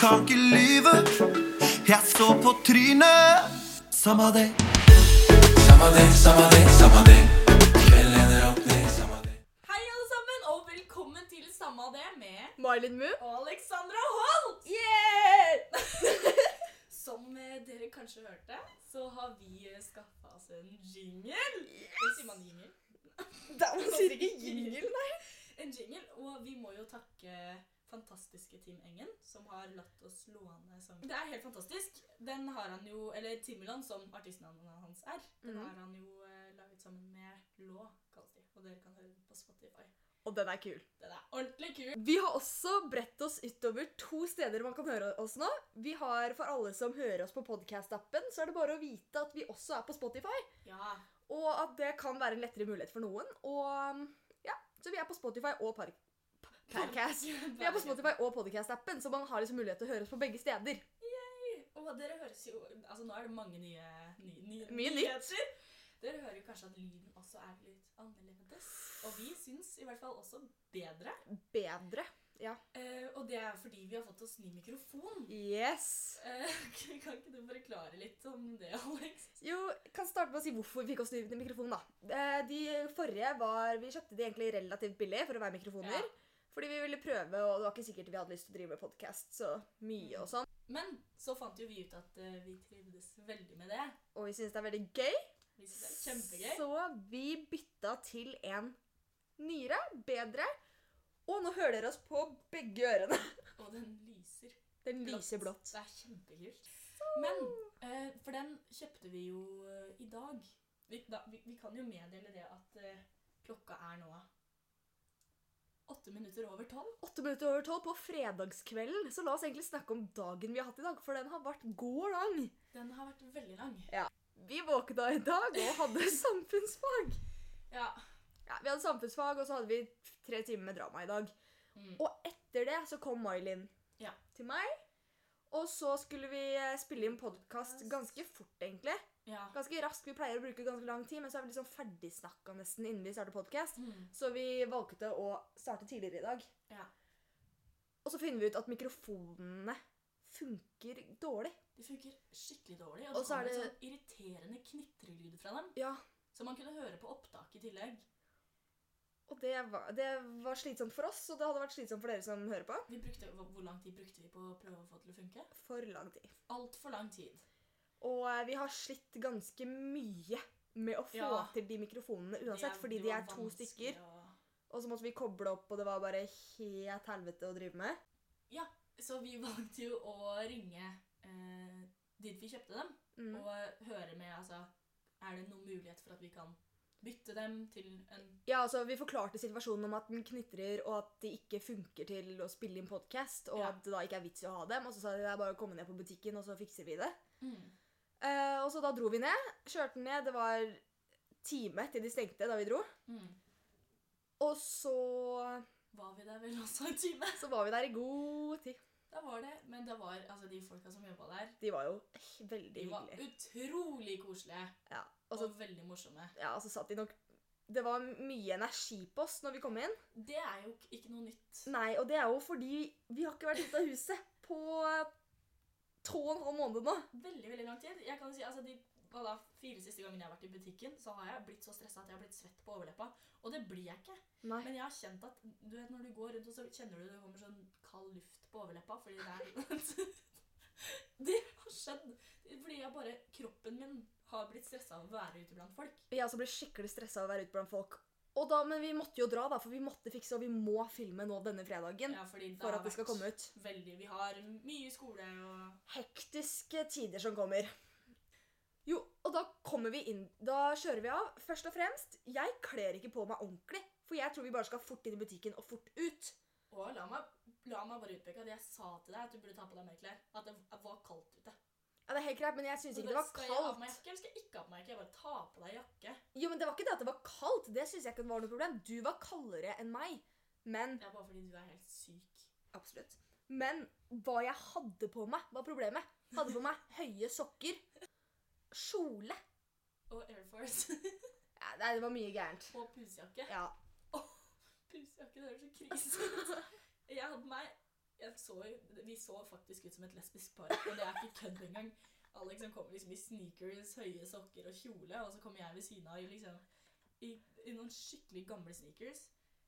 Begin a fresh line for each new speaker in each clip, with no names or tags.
kan ikke lyve. Jeg så på trynet. Samma det.
Samme det, samme det, samme det. Kvelden ender opp ned, samme det.
Hei alle sammen, og velkommen til Samma det med
Mylin Moon.
og Alexandra Holt! Som eh, dere kanskje hørte, så har vi eh, skaffa oss en jingle. Eller Sier man jingle?
Man sier ikke jingle, nei.
En jingle, Og vi må jo takke fantastiske Team Engen, som har latt oss låne sangen. Det er helt fantastisk. Den har han jo, eller Timmerland, som artistnavnet hans er, den
Mhm.
har han jo eh, laget sammen med Lå, kalles de. Og dere kan høre den på Spotify.
Og den er kul.
Den er ordentlig kul.
Vi har også bredt oss utover to steder man kan høre oss nå. Vi har For alle som hører oss på podcast-appen, så er det bare å vite at vi også er på Spotify.
Ja,
Og at det kan være en lettere mulighet for noen. Og ja, Så vi er på Spotify og Park... Parcast. Vi er på Spotify og podcast-appen, så man har liksom mulighet til å høre oss på begge steder.
Og dere høres jo Altså, nå er det mange nye, ny, ny,
Mye nytt.
nyheter. Dere hører jo kanskje at lyden også er litt annerledes. Og vi syns i hvert fall også bedre.
Bedre.
Eh, og det er fordi vi har fått oss ny mikrofon.
Yes.
Eh, kan ikke du forklare litt om det, Alex?
Jo, kan starte med å si hvorfor vi fikk oss ny mikrofon, da. Eh, De forrige var Vi kjøpte de egentlig relativt billig for å være mikrofoner.
Ja.
Fordi vi ville prøve, og det var ikke sikkert vi hadde lyst til å drive med podkast så
Mm.
mye og sånn.
Men så fant jo vi ut at eh, vi trivdes veldig med det.
Og vi syns det er veldig gøy.
Vi synes det er kjempegøy.
Så vi bytta til en nyere, bedre. Og nå hører dere oss på begge ørene.
Og den lyser.
Den lyser blått.
Det er kjempekult. Men eh, For den kjøpte vi jo eh, i dag. Vi, da, vi, vi kan jo meddele det at eh, klokka er nå åtte minutter over tolv.
Åtte minutter over tolv på fredagskvelden, så la oss egentlig snakke om dagen vi har hatt i dag, for den har vært god og lang.
Den har vært veldig lang.
Vi våkna i dag og hadde samfunnsfag.
Ja.
Ja, Vi hadde samfunnsfag, og så hadde vi tre timer med drama i dag.
Mm.
Og etter det så kom Mailin
Ja.
til meg. Og så skulle vi eh, spille inn podkast ganske fort, egentlig.
ja.
Ganske raskt. Vi pleier å bruke ganske lang tid, men så er vi liksom ferdigsnakka nesten innen vi starter podkast.
Mm.
Så vi valgte å starte tidligere i dag.
Ja.
Og så finner vi ut at mikrofonene funker dårlig.
De funker skikkelig dårlig.
Og
Og det
så er
kommer det...
det-
sånn irriterende knitrelyd fra dem.
Ja,
Som man kunne høre på opptak i tillegg.
Og det var, det var slitsomt for oss, og det hadde vært slitsomt for dere som hører på.
Vi brukte, hvor hvor lang tid brukte vi på å prøve å få det til å funke?
For lang tid.
Altfor lang tid.
Og eh, vi har slitt ganske mye med å få
Ja.
til de mikrofonene uansett,
Det er-
fordi
det
de
var
er to
vanskelig
stykker.
å-
Og så måtte vi koble opp, og det var bare helt helvete å drive med.
Så vi valgte jo å ringe eh, dit vi kjøpte dem,
Mm.
og høre med altså, Er det noen mulighet for at vi kan bytte dem til en
Ja, altså Vi forklarte situasjonen om at den knitrer, og at de ikke funker til å spille inn podkast, og
Ja.
at det da ikke er vits i å ha dem. Og så sa de det er bare å komme ned på butikken, og så fikser vi det.
mm.
Eh, og så da dro vi ned. Kjørte ned. Det var time til de stengte da vi dro.
Mm.
Og så
Var vi der vel også en time?
så var vi der i god tid.
Da var det, Men det var, altså, de folka som jobba der,
De var jo eh, veldig
de var
hyggelige.
utrolig koselige
Ja,
og,
og så
veldig morsomme.
ja, så satt de nok Det var mye energi på oss når vi kom inn.
Det er jo ikke noe nytt.
Nei, og det er jo fordi vi har ikke vært ute av huset på to og en halv måned nå.
Veldig veldig lang tid. Jeg kan jo si, altså, De hva da, fire siste gangene jeg har vært i butikken, så har jeg blitt så stressa at jeg har blitt svett på overleppa. Og det blir jeg ikke.
Nei.
Men jeg har kjent at du vet, når du går rundt, og så kjenner du det kommer sånn kald luft på overleppa. Fordi det er Det har skjedd. Fordi jeg bare Kroppen min har blitt stressa av å være ute blant folk.
Jeg også ble skikkelig stressa av å være ute blant folk. Og da, men vi måtte jo dra, da, for vi måtte fikse, og vi må filme nå denne fredagen.
Ja, fordi det
For
har
at det skal
vært
komme ut.
Veldig. Vi har mye skole og
Hektiske tider som kommer. Jo, og da kommer vi inn. Da kjører vi av. Først og fremst, jeg kler ikke på meg ordentlig. For jeg tror vi bare skal fort inn i butikken og fort ut.
Og la meg, la meg bare utpeke at jeg sa til deg at du burde ta på deg mer klær. At det var kaldt ute.
Ja, det er helt greit, men jeg syns
Så
ikke det var
Skal jeg ha på meg
kaldt.
jakke, eller skal jeg ikke ha på meg jakke? Jeg bare ta på deg jakke.
Jo, men Det var ikke det at det var kaldt. Det syns jeg ikke var noe problem. Du var kaldere enn meg. Men
Det er bare fordi du er helt syk.
absolutt. Men hva jeg hadde på meg, var problemet. Hadde på meg høye sokker. Kjole.
Og Air Force.
Ja, nei, det var mye gærent.
og pusejakke.
Ja.
Pusejakke, det er så krise. Jeg hadde meg jeg så, vi så faktisk ut som et lesbisk par, og det er ikke kødd engang. Alex han kommer liksom i sneakers, høye sokker og kjole, og så kommer jeg ved siden av i liksom, i, i noen skikkelig gamle sneakers.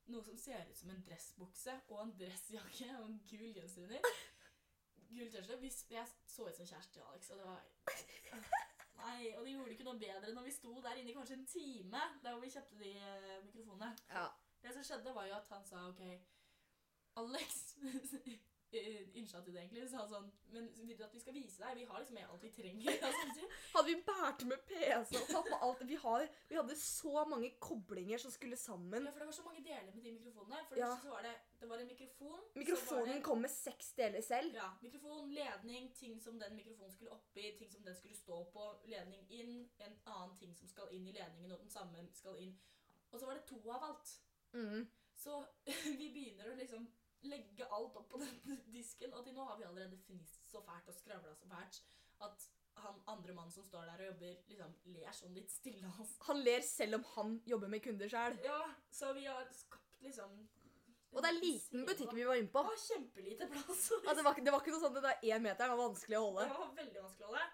Noe som ser ut som en dressbukse og en dressjakke og en gul genser under. Gul T-skjorte. Vi s- Jeg så ut som kjæreste til Alex, og det var Nei, og det gjorde ikke noe bedre når vi sto der inne i kanskje en time der hvor vi kjøpte de eh, mikrofonene.
Ja.
Det som skjedde var jo at han sa ok, Alex Innsja til det egentlig sa sånn Men vil du at vi skal vise deg? Vi har liksom med alt vi trenger. da», sånn sier.
Hadde vi båret med PC og tatt med alt vi har Vi hadde så mange koblinger som skulle sammen.
Ja, for det var så mange deler med de mikrofonene. For
Ja.
det første så var det, det var en mikrofon. så var
Mikrofonen
det-
kom med seks deler selv.
Ja, mikrofon, ledning, ting som den mikrofonen skulle oppi, ting som den skulle stå på, ledning inn, en annen ting som skal inn i ledningen, og den samme skal inn. Og så var det to av alt.
Mm.
Så vi begynner å liksom legge alt opp på den disken, og til nå har vi allerede fnist så fælt og skravla så fælt at han andre mannen som står der og jobber, liksom ler sånn litt stille av oss.
Han ler selv om han jobber med kunder sjøl.
Ja, så vi har skapt liksom
Og det er liten butikk vi var inne på.
har. Kjempelite plass. og
Altså, det, var, det var ikke noe sånn det der én meteren var vanskelig å holde.
Det var veldig vanskelig å holde.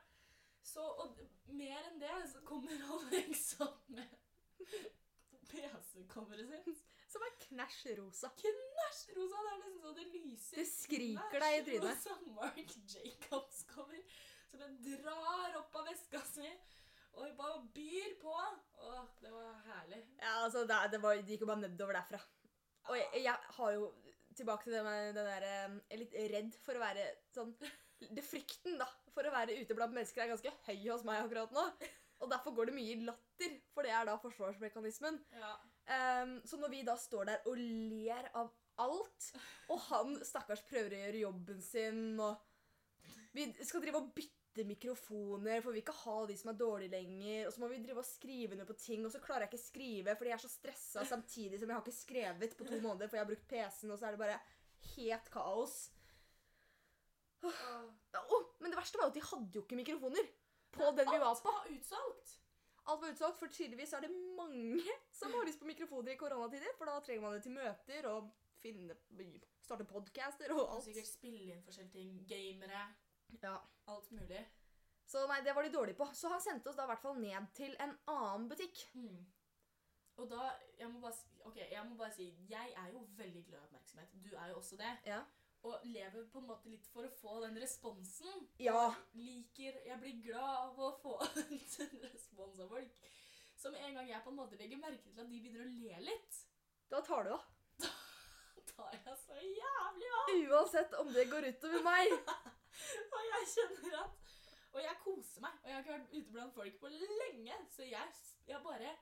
Så, og d- mer enn det så kommer Alex opp med PC-coveret sitt.
Som er knæsj rosa.
Æsj, Rosa, det er nesten så det lyser.
Det skriker deg i trynet.
Rosa Mark Jacobs-cover som den drar opp av veska si og bare byr på. Åh, det var herlig.
Ja, altså, det, det, var, det gikk jo bare nedover derfra. Og jeg, jeg har jo Tilbake til det med den der eh, Jeg er litt redd for å være sånn det Frykten da, for å være ute blant mennesker er ganske høy hos meg akkurat nå. Og derfor går det mye i latter, for det er da forsvarsmekanismen.
Ja.
Ehm, så når vi da står der og ler av alt, og han stakkars prøver å gjøre jobben sin og Vi skal drive og bytte mikrofoner, for vi vil ikke ha de som er dårlige lenger. Og så må vi drive og skrive ned på ting, og så klarer jeg ikke skrive fordi jeg er så stressa samtidig som jeg har ikke skrevet på to måneder, for jeg har brukt PC-en, og så er det bare helt kaos.
Åh.
Å, men det verste var jo at de hadde jo ikke mikrofoner på den vi var
Alt
på.
var utsolgt.
Alt var utsolgt, for tydeligvis er det mange som har lyst på mikrofoner i koronatider, for da trenger man det til møter og finne, starte podcaster og
Og
alt.
sikkert spille inn forskjellige ting. Gamere.
Ja.
Alt mulig.
Så nei, det var de dårlige på. Så han sendte oss da i hvert fall ned til en annen butikk.
Mm. Og da, jeg må, bare, si- ok, jeg må bare si, jeg er jo veldig glad i oppmerksomhet. Du er jo også det.
Ja.
Og lever på en måte litt for å få den responsen.
Ja.
Liker, jeg blir glad av å få en respons av folk. Så med en gang jeg på en måte legger merke til at de begynner å le litt,
Da tar du av.
tar jeg så jævlig av.
Uansett om det går utover meg.
Og jeg kjenner at Og jeg koser meg. Og jeg har ikke vært ute blant folk på lenge, så jeg, jeg bare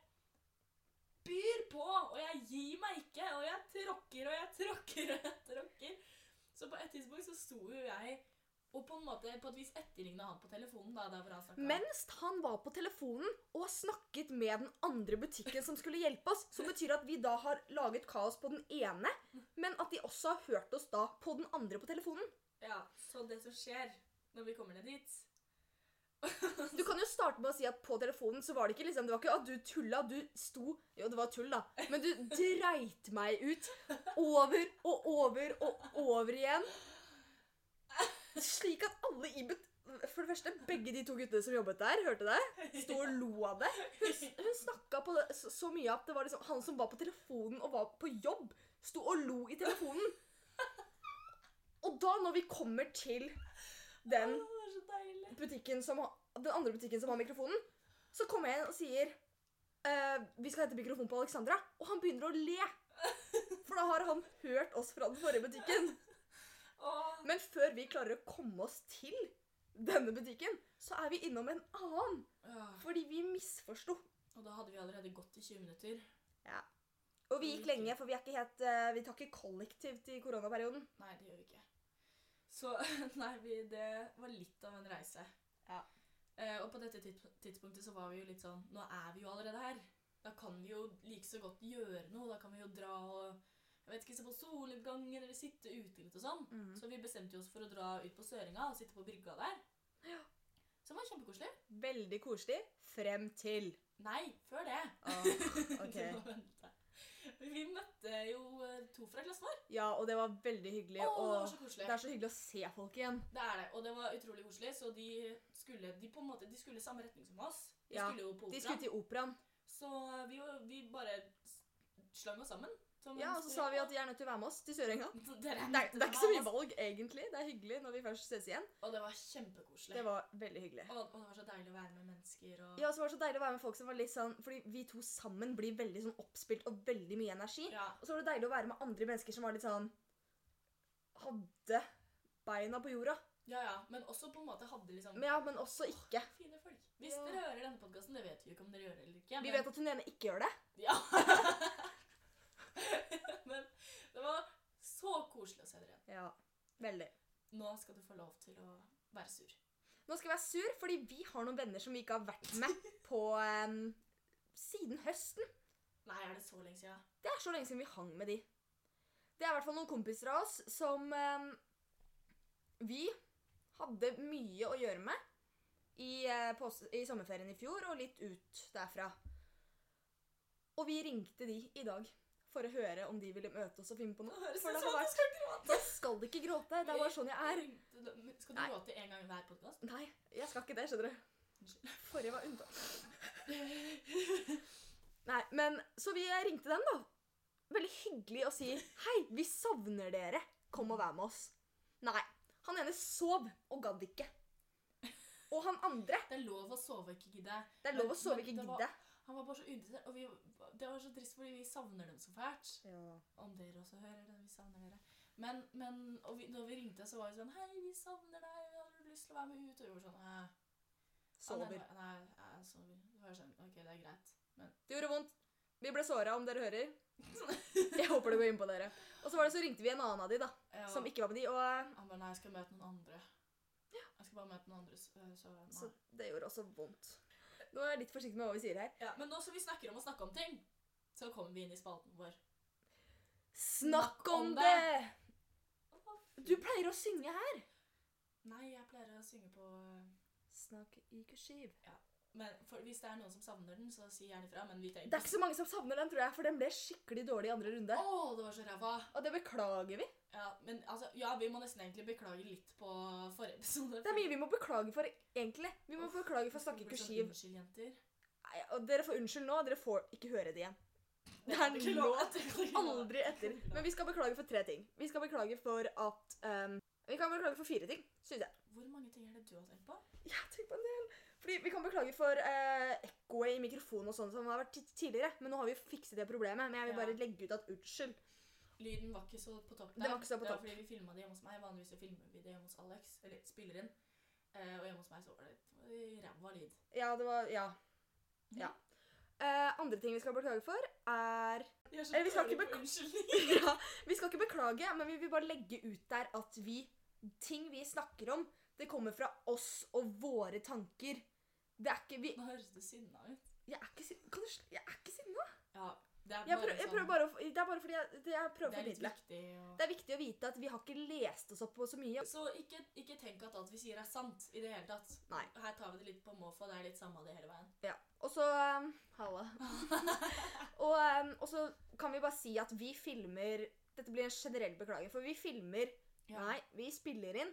byr på. Og jeg gir meg ikke. Og jeg tråkker og jeg tråkker og jeg tråkker. Så på et tidspunkt så sto jo jeg og på en måte på et vis etterligna han på telefonen. da, der hvor han snakket.
Mens han var på telefonen og snakket med den andre butikken som skulle hjelpe oss, som betyr at vi da har laget kaos på den ene, men at de også har hørt oss da på den andre på telefonen.
Ja, Så det som skjer når vi kommer ned dit
Du kan jo starte med å si at på telefonen så var det ikke liksom, det var ikke at du tulla, du sto Jo, det var tull, da. Men du dreit meg ut. Over og over og over igjen. Slik at alle i but... For det første, begge de to guttene som jobbet der, hørte det. Sto og lo av det. Hun, s- hun snakka på det så, så mye at det var liksom han som var på telefonen og var på jobb, sto og lo i telefonen. Og da, når vi kommer til den
Å, Det er så deilig.
butikken som har, den andre butikken som har mikrofonen, så kommer jeg inn og sier «Eh, vi skal hente mikrofon på Alexandra, og han begynner å le. For da har han hørt oss fra den forrige butikken.
Åh,
Men før vi klarer å komme oss til denne butikken, så er vi innom en annen.
ja.
Fordi vi misforsto.
Og da hadde vi allerede gått i 20 minutter.
Og vi gikk lenge, for vi er ikke helt eh, Vi tar ikke kollektivt i koronaperioden.
Nei, det gjør vi ikke. Så nei, vi, det var litt av en reise.
Ja.
Eh, og på dette tids- tidspunktet så var vi jo litt sånn Nå er vi jo allerede her. Da kan vi jo like så godt gjøre noe. Da kan vi jo dra og jeg vet ikke, se på soloppgangen eller sitte ute litt og sånn.
Mhm.
Så vi bestemte jo oss for å dra ut på Søringa og sitte på brygga der. Som var kjempekoselig.
Veldig koselig. Frem til
Nei, før det.
ah,
Du
ok.
må vente. Vi møtte jo eh, to fra klassen vår.
Ja, og det var veldig hyggelig.
Å, det var
og
så
det
koselig.
er så hyggelig å se folk igjen.
Det er det, og det var utrolig koselig. Så de skulle de på en måte, de skulle i samme retning som oss. De
Ja,
skulle jo på
De
opera.
skulle til operaen.
Så vi, jo- vi bare s- slang oss sammen. som en
Ja, og så sa
stor-
vi at de er nødt til å være med oss til Sørenga.
Så dere
Det er, det er ikke så mye
valg.
valg, egentlig. Det er hyggelig når vi først ses igjen.
Og det var kjempekoselig.
Det var veldig hyggelig.
og, og det var så deilig å være med mennesker. Og,
Ja, og så var det så deilig å være med folk som var litt sånn Fordi vi to sammen blir veldig sånn oppspilt og veldig mye energi.
Ja,
Og så var det deilig å være med andre mennesker som var litt sånn Hadde beina på jorda.
ja, ja. Men også på en måte hadde liksom
Men ja, men også ikke.
Fine folk. Hvis
Ja.
dere hører denne podkasten, det vet vi jo ikke om dere gjør eller ikke.
Vi vet at hun ene ikke gjør det.
Ja. men det var så koselig å se dere igjen.
Ja, veldig.
Nå skal du få lov til å være sur.
Nå skal jeg være sur, fordi vi har noen venner som vi ikke har vært med på em, siden høsten.
Nei, er det så lenge siden?
Det er så lenge siden vi hang med de. Det er i hvert fall noen kompiser av oss som em, vi hadde mye å gjøre med i, eh, pås- i sommerferien i fjor og litt ut derfra. Og vi ringte de i dag for å høre om de ville møte oss og finne på noe. For det har vært
skal gråte.
Jeg skal ikke gråte. Det er bare sånn jeg er.
Skal du
Nei.
gråte en gang i hver podkast?
Nei, jeg skal ikke det, skjønner du.
Unnskyld.
Forrige var unntak. Nei, men Så vi ringte dem, da. Veldig hyggelig å si 'Hei, vi savner dere. Kom og vær med oss'. Nei. Han ene sov og gadd ikke. Og han andre
Det er lov å sove og ikke gidde.
Det er lov å sove,
Men-
ikke
men det var-
gidde.
Han var bare så uinteressert, og vi, det var så trist fordi vi savner dem så fælt. Om dere også hører det, vi savner dere. Men, men og vi, når vi ringte, så var vi sånn Hei, vi savner deg, har du lyst til å være med ut? Og vi var sånn «Æ,
Sover.
Nei, Ah, nei, jeg sover. Det var sånn, ok, det er greit. Men
Det gjorde vondt. Vi ble såra, om dere hører. Jeg håper det går inn på dere. Og så var det så ringte vi en annen av de, da.
ja,
Som ikke var med de. Og eh,
Han bare Nei, jeg skal møte noen andre. Jeg skal bare møte noen andre, så, så nei.
Så det gjorde også vondt. Nå er jeg litt forsiktig med hva vi sier her.
Ja, Men nå som vi snakker om å snakke om ting, så kommer vi inn i spalten vår.
Snakk om
om
det! Du pleier å synge her.
Nei, jeg pleier å synge på eh,
Snakk i kursiv.
Men for, Hvis det er noen som savner den, så si gjerne ifra. Men vi
Det
trenger
er ikke så mange som savner den, tror jeg, for den ble skikkelig dårlig i andre runde.
Å, det var så ræva!
Og det beklager vi.
Ja, men altså, ja, vi må nesten egentlig beklage litt på forrige episode.
Det er mye vi må beklage for, egentlig. Vi må
Uff,
beklage for Snakk i
Blir sånn
kursiv.
Unnskyld, jenter.
Nei, og dere får unnskyld nå, dere får ikke høre det igjen. Det er
ikke
lov.
Det er ikke lov.
Aldri etter. Men vi skal beklage for tre ting. Vi skal beklage for at ehm, Vi kan beklage for fire ting, syns jeg.
Hvor mange ting er det du har tenkt på?
Ja, tenk på en del. Fordi Vi kan beklage for eh, ekkoet i mikrofonen og sånn som har vært ti- tidligere. Men nå har vi jo fikset det problemet. Men jeg vil
Ja.
bare legge ut at unnskyld.
Lyden var ikke så på topp
Det var ikke så på
det var
topp.
fordi vi filma det hjemme hos meg. Vanligvis så filmer vi det hjemme hos Alex. Eller spiller inn. Eh, og hjemme hos meg så var det ræva lyd.
Ja, det var Ja.
Mhm.
ja. Eh, andre ting vi skal beklage for, er
Jeg er så
Eller Eh, vi skal
dårlig
ikke
på
bek-
unnskyldning.
ja, Vi skal ikke beklage, men vi vil bare legge ut der at vi Ting vi snakker om, det kommer fra oss og våre tanker. Det er ikke vi
Nå høres du sinna ut.
Jeg er ikke sin- kan du sl- Jeg er ikke sinna.
Ja, det er
Jeg,
bare
prøv, jeg
sånn-
prøver bare å f- Det er bare fordi jeg, det jeg prøver å
Det er litt
formidle.
viktig å
Det er viktig å vite at vi har ikke lest oss opp på så mye.
Så ikke, ikke tenk at alt vi sier er sant i det hele tatt.
Nei.
Her tar vi det litt på måfå. Det er litt samme det hele veien.
Ja. Og så um, Halla. og, um, og så kan vi bare si at vi filmer Dette blir en generell beklager, for vi filmer
Ja.
Nei, vi spiller inn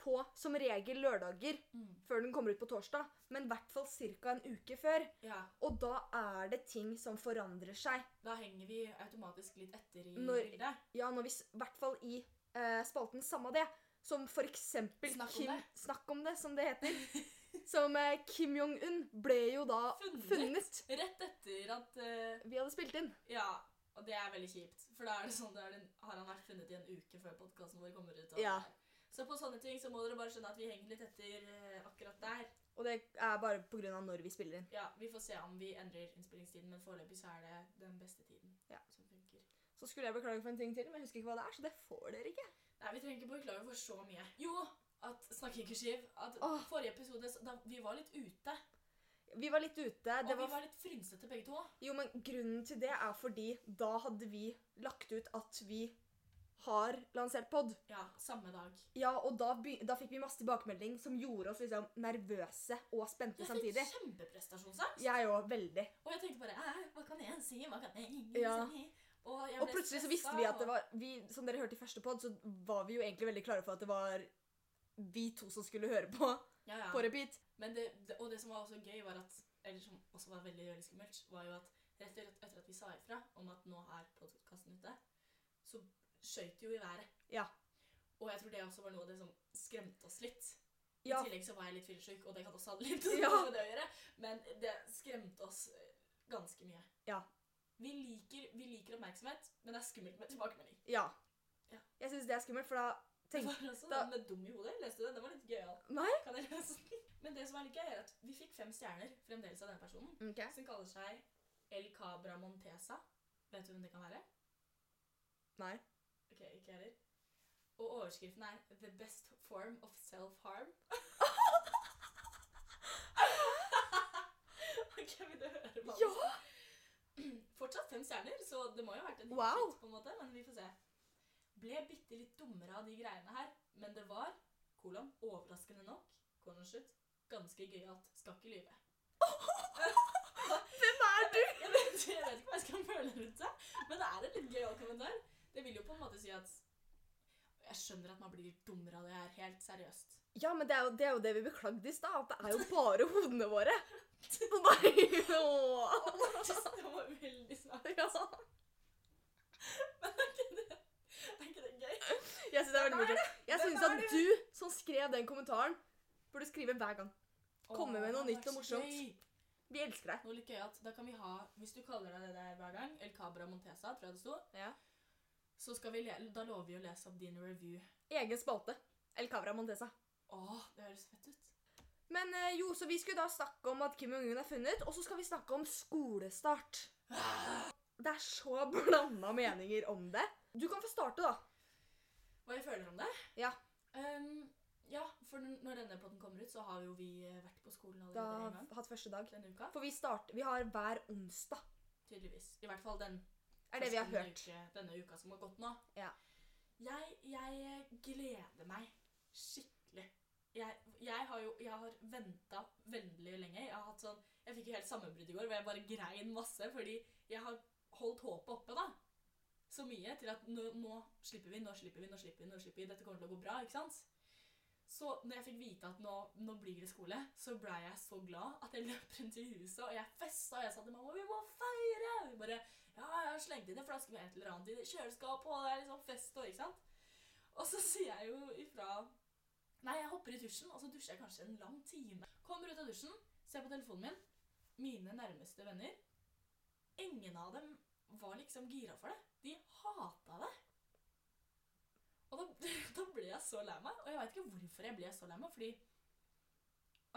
på som regel lørdager
Mm.
før den kommer ut på torsdag, men i hvert fall ca. en uke før.
Ja,
Og da er det ting som forandrer seg.
Da henger vi automatisk litt etter i
Når-
bildet.
Ja, når vi, s- i hvert fall i eh, spalten Samme det, som for eksempel
Snakk om
Kim,
det.
Snakk om det, som det heter. Som eh, Kim Jong-un ble jo da
Funnet.
funnet.
Rett etter at eh,
Vi hadde spilt inn.
Ja. Og det er veldig kjipt. For da er det sånn, da er det, har han vært funnet i en uke før podkasten vår kommer ut. og-
Ja.
Så på sånne ting så må dere bare skjønne at vi henger litt etter eh, akkurat der.
Og det er bare pga. når vi spiller inn.
Ja, Vi får se om vi endrer innspillingstiden, men foreløpig så er det den beste tiden
Ja.
som funker.
Så skulle jeg beklage for en ting til, men jeg husker ikke hva det er, så det får dere ikke.
Nei, vi trenger ikke beklage for så mye. Jo, at snakker ikke skiv. At
Åh.
forrige episode så- da, Vi var litt ute.
Vi var litt ute.
Og
Det
vi
var,
var litt frynsete begge to.
jo, men grunnen til det er fordi da hadde vi lagt ut at vi har lansert pod.
Ja, samme dag.
Ja, og da, begy- da fikk vi masse tilbakemelding som gjorde oss liksom nervøse og spente
Jeg fikk
samtidig.
kjempeprestasjonsangst.
Jeg òg, veldig.
Og jeg tenkte bare «Æ, Hva kan jeg si? Hva kan jeg ikke
Ja.
si? Og, jeg
Og
ble
plutselig så
stressa,
visste vi at det
og-
var vi, Som dere hørte i første pod, så var vi jo egentlig veldig klare for at det var vi to som skulle høre på
ja, ja.
på repeat.
Men det, det, og det som var også gøy, var at Eller som også var veldig veldig skummelt, var jo at rett og slett etter at vi sa ifra om at nå er podkasten ute, så skøyt det jo i været.
Ja.
Og jeg tror det også var noe av det som skremte oss litt. I
Ja,
tillegg så var jeg litt fyllesyk, og det kan også ha litt
Ja.
med det å gjøre. Men det skremte oss eh, ganske mye.
Ja.
Vi liker, vi liker oppmerksomhet, men det er skummelt med tilbakemelding.
ja.
Ja.
Jeg syns det er skummelt, for da
Det
tenk,
var også
da-
den med dum i hodet. Leste du den? Den var litt gøyal.
Nei.
Kan jeg lese den? Men det som er litt gøy, er at vi fikk fem stjerner fremdeles av denne personen.
Ok.
Som kaller seg El Cabra Montesa. Vet du hvem det kan være?
Nei.
Ok, ikke heller. Og overskriften er 'The best form of self-harm'. ok, vil du høre hva
Ja!
Fortsatt fem stjerner, så det må jo ha vært en
Wow.
hit, på en måte, men vi får se. Ble bitte litt dummere av de greiene her, men det var, kolon, overraskende nok, kolon slutt, ganske gøyalt, skal ikke lyve.
Hvem er du?
Jeg vet, jeg vet ikke hva jeg skal føle rundt det, men det er en litt gøyal kommentar. Det vil jo på en måte si at jeg skjønner at man blir dummere av det her, helt seriøst.
Ja, men det er jo det, er jo det vi beklagde i stad. At det er jo bare hodene våre. Og nei, åh.
Det var veldig svært.
Ja.
Men er ikke det, er ikke det gøy?
Jeg syns det er veldig morsomt. Jeg
Hvem
syns
er
at du som skrev den kommentaren, burde skrive hver gang. Komme med noe
Åh, det
nytt
er
og
så
morsomt.
gøy.
Vi elsker deg.
Noe litt gøy at da kan vi ha, Hvis du kaller deg det der hver gang, El Cabra Montesa, tror jeg det sto,
Ja.
så skal vi le, da lover vi å lese opp din review.
Egen spalte. El Cabra Montesa.
Åh, det høres fett ut.
Men eh, jo, så vi skulle da snakke om at Kim Jong-un er funnet, og så skal vi snakke om skolestart. Det er så blanda meninger om det. Du kan få starte, da.
Hva jeg føler om det?
Ja.
Ehm, ja, for n- når denne podden kommer ut, så har jo vi eh, vært på skolen
Da
allerede en
har
gang
vi hatt første dag.
denne uka.
For vi, starter, vi har hver onsdag.
Tydeligvis. I hvert fall den
Er det vi har
første
hørt.
Uke, denne uka som har gått nå.
Ja.
Jeg, jeg eh, gleder meg skikkelig. Jeg, jeg har jo jeg har venta veldig lenge. Jeg har hatt sånn, jeg fikk jo helt sammenbrudd i går hvor jeg bare grein masse fordi jeg har holdt håpet oppe da. så mye til at nå, nå slipper vi, nå slipper vi, nå slipper vi, nå slipper vi, dette kommer til å gå bra. ikke sant? Så når jeg fikk vite at nå, nå blir det skole, så ble jeg så glad at jeg løp rundt i huset og jeg festa. Og jeg sa til mamma vi må feire! Og Hun bare ja, jeg har slengt inn en flaske med et eller annet i det kjøleskapet, og det er liksom fest og ikke sant? Og så sier jeg jo ifra Nei, jeg hopper i dusjen, og så dusjer jeg kanskje en lang time. Kommer ut av dusjen, ser på telefonen min. Mine nærmeste venner. Ingen av dem var liksom gira for det. De hata det. Og da, da ble jeg så lei meg. Og jeg veit ikke hvorfor jeg ble så lei meg. Fordi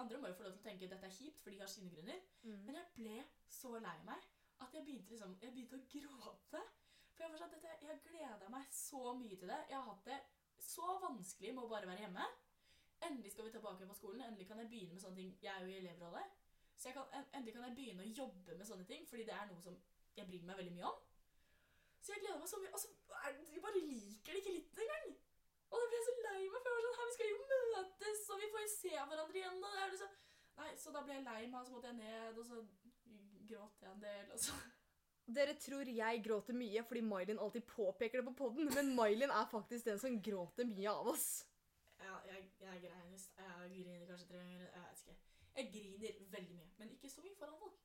andre må jo få lov til å tenke at dette er kjipt, for de har sine grunner.
Mm.
Men jeg ble så lei meg at jeg begynte, liksom, jeg begynte å gråte. For jeg var sånn, dette, jeg gleda meg så mye til det. Jeg har hatt det så vanskelig med å bare være hjemme. Endelig skal vi tilbake på skolen. Endelig kan jeg begynne med sånne ting. Jeg er jo i elevrådet. Så jeg kan, en- endelig kan jeg begynne å jobbe med sånne ting, fordi det er noe som jeg bryr meg veldig mye om. Så jeg gleder meg så mye. Og så er, det- de bare liker det ikke litt engang. Og da ble jeg så lei meg, for jeg var sånn, her, vi skal jo møtes, og vi får jo se hverandre igjen. Og det er liksom, nei, så da ble jeg lei meg, og så måtte jeg ned, og så gråt jeg en del. Og så.
Dere tror jeg gråter mye fordi Mailin alltid påpeker det på poden, men Mailin er faktisk den som gråter mye av oss.
Ja, jeg, jeg grein i st- Jeg griner kanskje tre ganger. Jeg vet ikke. Jeg griner veldig mye, men ikke så mye foran folk.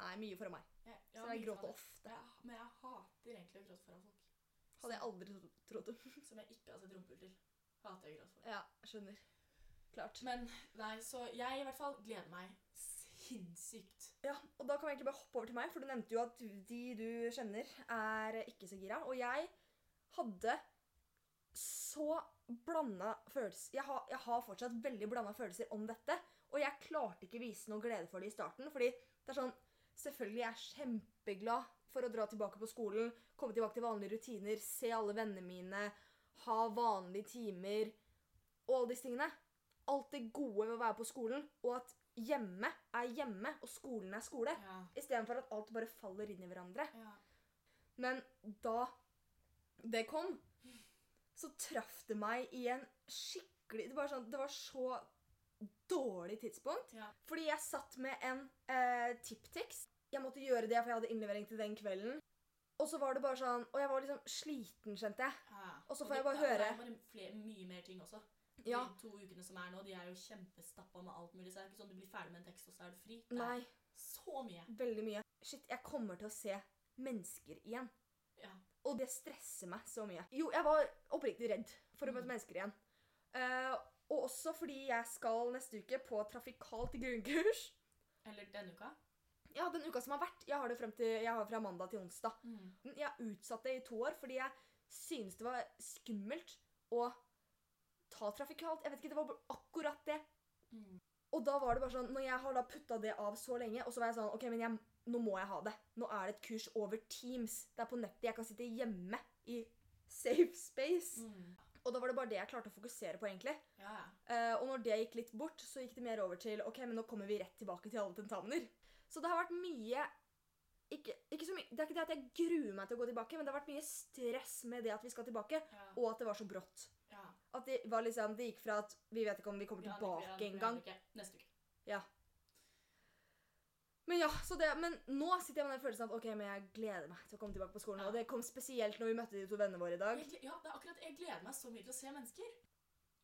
Nei, mye for meg.
Jeg, jeg
Så
har
jeg
mye
gråter
foran-
ofte.
Ja, men jeg hater egentlig å gråte foran folk.
Hadde jeg aldri trodd.
Som jeg ikke har sett rumpehull til. Hater jeg å gråte for.
Ja, skjønner. Klart.
Men nei, så jeg i hvert fall gleder meg sinnssykt.
Ja, og da kan vi egentlig bare hoppe over til meg, for du nevnte jo at de du kjenner, er ikke så gira. Og jeg hadde så blanda følelser jeg har, jeg har fortsatt veldig blanda følelser om dette. Og jeg klarte ikke vise noe glede for det i starten. fordi det er sånn Selvfølgelig jeg er kjempeglad for å dra tilbake på skolen, komme tilbake til vanlige rutiner, se alle vennene mine, ha vanlige timer og alle disse tingene. Alt det gode med å være på skolen, og at hjemme er hjemme, og skolen er skole.
Ja.
Istedenfor at alt bare faller inn i hverandre.
ja.
Men da det kom, så traff det meg i en skikkelig Det var, sånn, det var så dårlig tidspunkt.
Ja.
Fordi jeg satt med en eh, tipptekst. Jeg måtte gjøre det, for jeg hadde innlevering til den kvelden. Og så var det bare sånn Og jeg var liksom sliten, skjønte jeg.
Ja.
Og så får
det-
jeg bare
ja, og Det
høre-
er bare flere, mye mer ting også.
Ja.
De to ukene som er nå, de er jo kjempestappa med alt mulig. Så det er ikke sånn du blir ferdig med en tekst, og så er du fri. Det
Nei,
er så mye.
veldig mye. Shit, jeg kommer til å se mennesker igjen.
Ja.
Og det stresser meg så mye. Jo, jeg var oppriktig redd for å møte mennesker igjen. Eh, og også fordi jeg skal neste uke på trafikalt grunnkurs.
Eller denne uka.
Ja, den uka som har vært. Jeg har det frem til, jeg har fra mandag til onsdag.
Mm.
Jeg har utsatt det i to år fordi jeg synes det var skummelt å ta trafikalt. Jeg vet ikke, det var bare akkurat det.
Mm.
Og da var det bare sånn, når jeg har da putta det av så lenge, og så var jeg sånn Ok, men jeg, nå må jeg ha det. Nå er det et kurs over Teams. Det er på nettet. Jeg kan sitte hjemme i safe space.
Mm.
Og da var det bare det jeg klarte å fokusere på, egentlig.
Ja, ja.
Eh, og når det gikk litt bort, så gikk det mer over til ok, men nå kommer vi rett tilbake til alle tentamener. Så det har vært mye ikke, ikke så mye, Det er ikke det at jeg gruer meg til å gå tilbake, men det har vært mye stress med det at vi skal tilbake,
ja.
og at det var så brått.
ja.
At det var liksom, det gikk fra at vi vet ikke om vi kommer
Vi aner ikke, vi aner
tilbake
ikke, vi
engang.
aner ikke. Neste uke.
Men ja, så det, men nå sitter jeg med den følelsen av ok, men jeg gleder meg til å komme tilbake på skolen.
Ja.
Og det kom spesielt når vi møtte de to vennene våre i dag.
Jeg, gle- ja, det er akkurat, jeg gleder meg så mye til å se mennesker.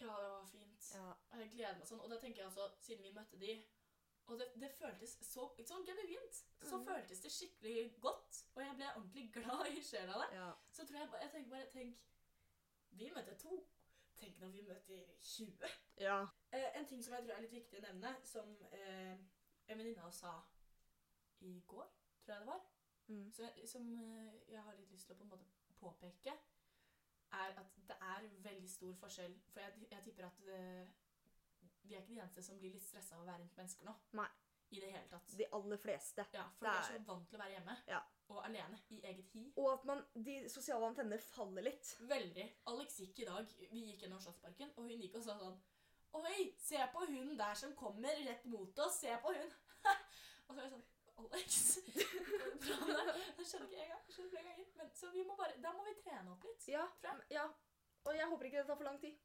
Ja, det var fint.
Ja,
Og Jeg gleder meg sånn, og da tenker jeg altså, siden vi møtte de, og det, det føltes så, sånn genuint, så
Mhm.
føltes det skikkelig godt, og jeg ble ordentlig glad i sjela der.
ja.
Så tror jeg, ba- jeg tenker bare, tenk, vi møtte to, tenk når vi møtte 20.
ja.
Eh, en ting som jeg tror er litt viktig å nevne, som eh, en venninne av oss sa i går, tror jeg det var,
Mm.
så, jeg- som eh, jeg har litt lyst til å på en måte påpeke, er at det er veldig stor forskjell. For jeg, jeg tipper at eh, vi er ikke de eneste som blir litt stressa av å være rundt mennesker nå.
Nei.
I det hele tatt.
De aller fleste.
ja, for vi er
det
så vant til å være hjemme
Ja.
og alene i eget hi.
Og at man, de sosiale antennene faller litt.
Veldig. Alex gikk i dag, vi gikk gjennom Slottsparken, og hun gikk og sa sånn Oi, se på hun der som kommer rett mot oss, se på hun. og så var jeg sånn Alex, bra med deg. Det skjedde ikke en gang, det skjedde flere ganger. Men, så vi må bare, da må vi trene opp litt.
Ja,
tror jeg.
ja. Og jeg håper ikke det tar for lang tid.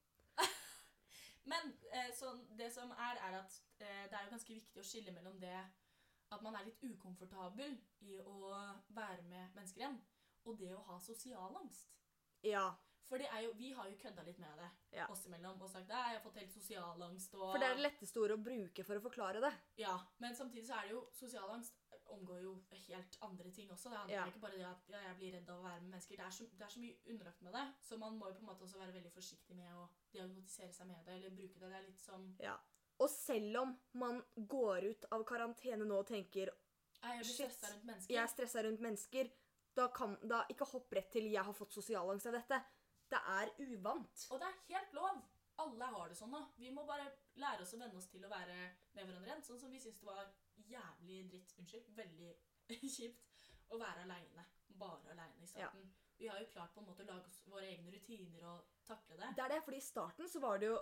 Men eh, sånn, det som er, er at eh, det er jo ganske viktig å skille mellom det at man er litt ukomfortabel i å være med mennesker igjen, og det å ha sosial angst.
Ja.
For det er jo, vi har jo kødda litt med det
Ja.
oss imellom og sagt at jeg har fått helt sosial angst. Og,
For det er det letteste ordet å bruke for å forklare det.
Ja, Men samtidig så er det jo sosial angst omgår jo helt andre ting også. Det handler
Ja.
ikke bare det at ja, jeg blir redd av å være med mennesker. Det er, så, det er så mye underlagt med det, så man må jo på en måte også være veldig forsiktig med å diagnotisere seg med det eller bruke det. Det er litt som
Og selv om man går ut av karantene nå og tenker
«Nei, Jeg blir
Shit.
stressa rundt mennesker.
jeg er stressa rundt mennesker, da kan da ikke hopp rett til 'jeg har fått sosial angst av dette'. Det er uvant.
Og det er helt lov. Alle har det sånn nå. Vi må bare lære oss å venne oss til å være med hverandre igjen. Sånn som vi syns det var jævlig dritt Unnskyld. Veldig kjipt å være aleine. Bare aleine i starten. Vi har jo klart på en måte å lage oss våre egne rutiner og takle det.
Det er det, fordi i starten så var det jo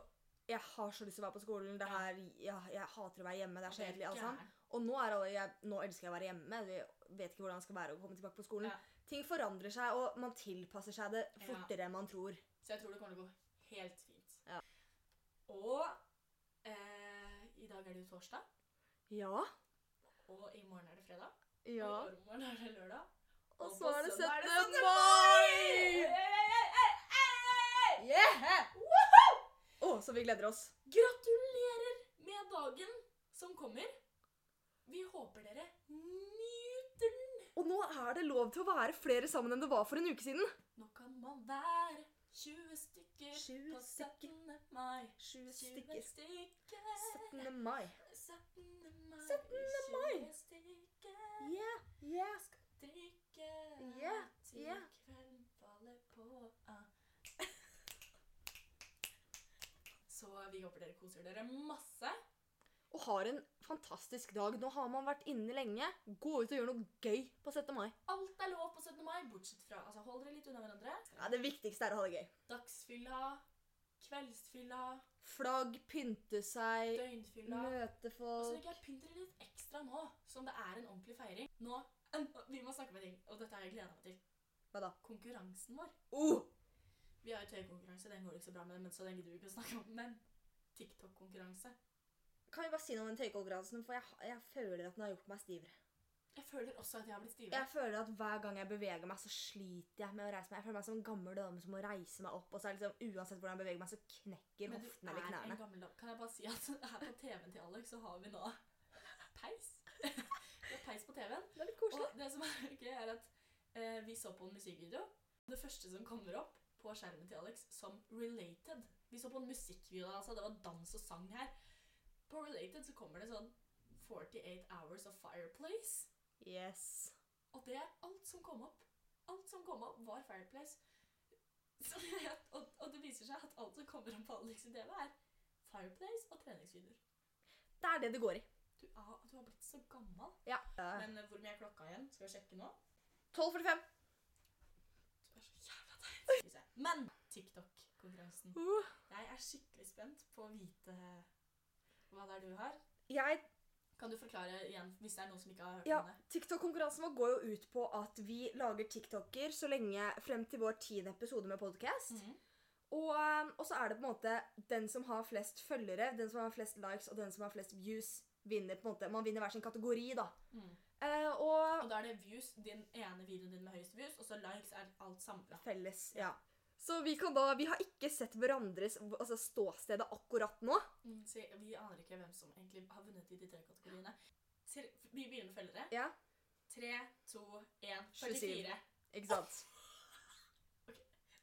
'jeg har så lyst til å være på skolen', det her, ja, 'jeg hater å være hjemme', det er så kjedelig, altså. alt sammen.
gærent.
Og nå, er alle, jeg, nå elsker jeg å være hjemme. Jeg vet ikke hvordan det skal være å komme tilbake på skolen.
Ja.
Ting forandrer seg, og man tilpasser seg det fortere enn man tror.
Så jeg tror det kommer til å gå helt fint.
Ja.
Og eh, i dag er det jo torsdag,
Ja.
og i morgen er det fredag.
ja.
Og i overmorgen er det lørdag.
Og
på
så er det
søndag
17.
17. Hey,
mai!
hey, hey, hey, hey, hey!
Yeah! Å, så vi gleder oss.
Gratulerer med dagen som kommer. Vi håper dere nyter den.
Og nå er det lov til å være flere sammen enn det var for en uke siden.
Nå kan man være 20 stykker
20
på
stykker.
17. mai. 20
20 stykker.
stykker.
17. mai.
17. mai.
17. mai.
20 stykker.
Yeah, yeah.
Drikke
Ja,
til
ja.
kvelden faller på. Ah. Så vi håper dere koser dere masse.
Og har en fantastisk dag. Nå har man vært inne lenge. Gå ut og gjør noe gøy på 17. mai.
Alt er lov på 17. mai, bortsett fra altså, Hold dere litt unna hverandre.
Ja, det viktigste er å ha det gøy.
Dagsfylla, kveldsfylla,
Flagg, pynte seg,
døgnfylla.
møte
Og så
folk.
tenker jeg pynt dere litt ekstra nå, som det er en ordentlig feiring. Nå, Vi må snakke med ting, og dette har jeg gleda meg til.
Hva da?
Konkurransen vår.
Altså, Oh!
Vi har jo tøykonkurranse, den går ikke så bra med, men så den gidder vi ikke å snakke om. Men TikTok-konkurranse
Kan vi bare si noe om den tøykonkurransen, for jeg, ha- jeg føler at den har gjort meg stivere.
Jeg føler også at jeg har blitt stivere.
Jeg føler at hver gang jeg beveger meg, så sliter jeg med å reise meg. Jeg føler meg som en gammel dame som må reise meg opp, og så er det liksom uansett hvordan jeg beveger meg, så knekker
Men du
hoften eller
er en
knærne.
gammel dame. Kan jeg bare si at her på TV-en til Alex så har vi nå peis. Vi har peis på TV-en.
Det er litt koselig.
Og det som er gøy, er at eh, vi så på en musikkvideo. Det første som kommer opp på skjermen til Alex som 'related'. Vi så på en musikkvideo, altså. Det var dans og sang her. På 'related' så kommer det sånn 48 Hours of Fireplace.
Yes.
Og det er alt som kom opp. Alt som kom opp, var Fireplace. Så jeg, og, og det viser seg at alt som kommer opp på Alex i TV, er Fireplace og treningsvideoer.
Det er det det går i.
Du, er, du har blitt så gammel.
Ja.
Men eh, hvor mye er klokka igjen? Skal vi sjekke nå?
12.45.
Du er så jævla teit. Skal vi se. Men TikTok-konkurransen.
Uh.
Jeg er skikkelig spent på å vite hva det er du har.
Jeg
Kan du forklare igjen, hvis det er noen som ikke har hørt
Ja,
om det?
TikTok-konkurransen vår går jo ut på at vi lager TikToker så lenge frem til vår tiende episode med podcast.
Mhm.
Og, um, og så er det på en måte den som har flest følgere, den som har flest likes og den som har flest views, vinner på en måte. Man vinner hver sin kategori, da.
Mhm.
Eh, og
Og da er det views, din ene videoen din med høyest views, og så likes er alt samla.
felles, ja. Så vi kan da Vi har ikke sett hverandres altså ståstedet akkurat nå.
Mm, så jeg- vi aner ikke hvem som egentlig har vunnet i de tre kategoriene. Ser, vi begynner med følgere.
Ja.
3, 2, 1,
27.
44.
Ikke sant?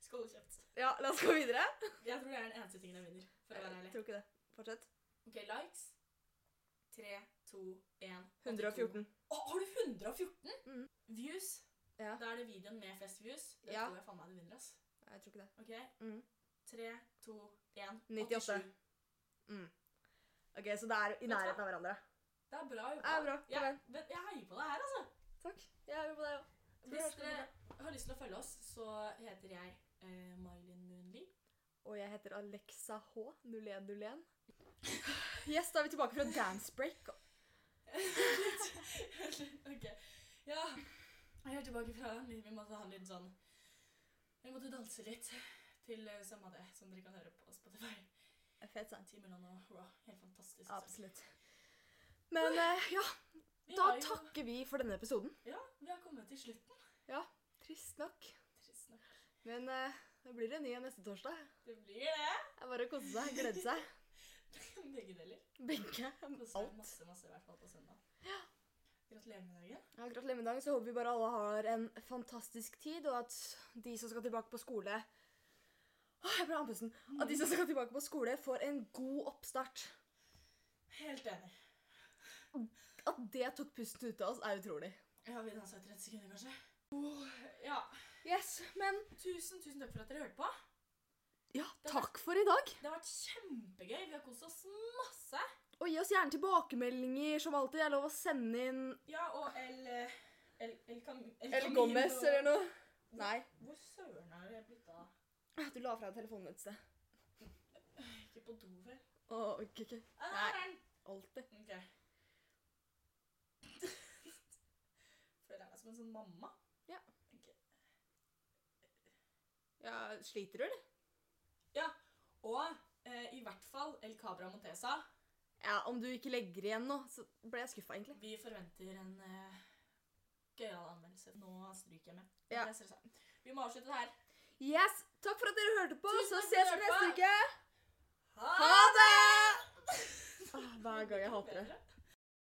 Skål og kjeft.
Ja, la oss gå videre.
Jeg tror det er den eneste tingen jeg vinner. for å være
Jeg
ærlig.
tror ikke det. Fortsett.
Ok, Likes. 3, 2, 1
114.
Å, har du 114?
Mm.
Views.
Ja.
Da er det videoen med flest views. Det
Ja.
tror jeg faen meg du vinner. ass.
Nei, Jeg tror ikke det.
Ok?
Mm.
3, 2, 1
98.
87.
Ok, Så det er i nærheten av hverandre.
Det er bra jobba.
Det er bra. Kom
Jeg,
igjen.
vet- jeg heier på deg her, altså.
Takk. Jeg er med på deg òg.
Hvis dere har lyst til å følge oss, så heter jeg eh, Mylin Moonli.
Og jeg heter Alexa H. 0101. Yes, da er vi tilbake fra dance break.
ok. Ja. Jeg er tilbake fra livet. Vi måtte ha litt sånn Vi måtte danse litt til eh, samme det, som dere kan høre på Spotify.
Fet sang.
Ti Milan og Raw. Helt fantastisk. sang.
Absolutt. Men eh, ja,
Vi
da
har jo-
takker vi for denne episoden.
Ja, vi har kommet til slutten.
Trist nok.
Trist nok.
Men eh, det blir en ny en neste torsdag.
Det blir det.
Det er bare å kose seg, glede seg.
Begge deler.
Begge.
Koser meg
Alt.
masse, masse, i hvert fall på søndag. Gratulerer med dagen.
Ja, Gratulerer med dagen. Så håper vi bare alle har en fantastisk tid, og at de som skal tilbake på skole Åh, jeg ble andpusten. At de som skal tilbake på skole, får en god oppstart.
Helt enig.
At det tok pusten ut av oss, er utrolig.
Ja, vi dansa i 30 sekunder, kanskje. Oh, ja.
Yes, men
Tusen, tusen takk for at dere hørte på.
Ja,
Det var-
takk for i dag.
Det har vært kjempegøy. Vi har kost oss masse.
Og gi oss gjerne tilbakemeldinger, som alltid. Det er lov å sende inn
Ja, og El El, el, Cam, el
Eller
Camino.
Gomez eller noe. Nei. Ah,
Hvor søren har jeg blitt av?
Du la fra deg telefonen et sted.
Ikke på do, vel?
Å, ok, ok.
Ah,
Nei.
der er den.
Alltid.
Ok. Føler jeg meg som en sånn mamma?
Ja, sliter du, eller?
Og eh, i hvert fall El Cabra Montesa.
Ja, om du ikke legger igjen nå, så ble jeg skuffa, egentlig.
Vi forventer en eh, gøyal anmeldelse. Nå stryker jeg med.
Ja.
Det er stressa. Vi må avslutte her.
Yes! Takk for at dere hørte på,
Tusen
så
takk for at
ses vi
dere
neste
hørte
uke!
Ha
Ha det! Ah, Hver gang jeg hater det.
det.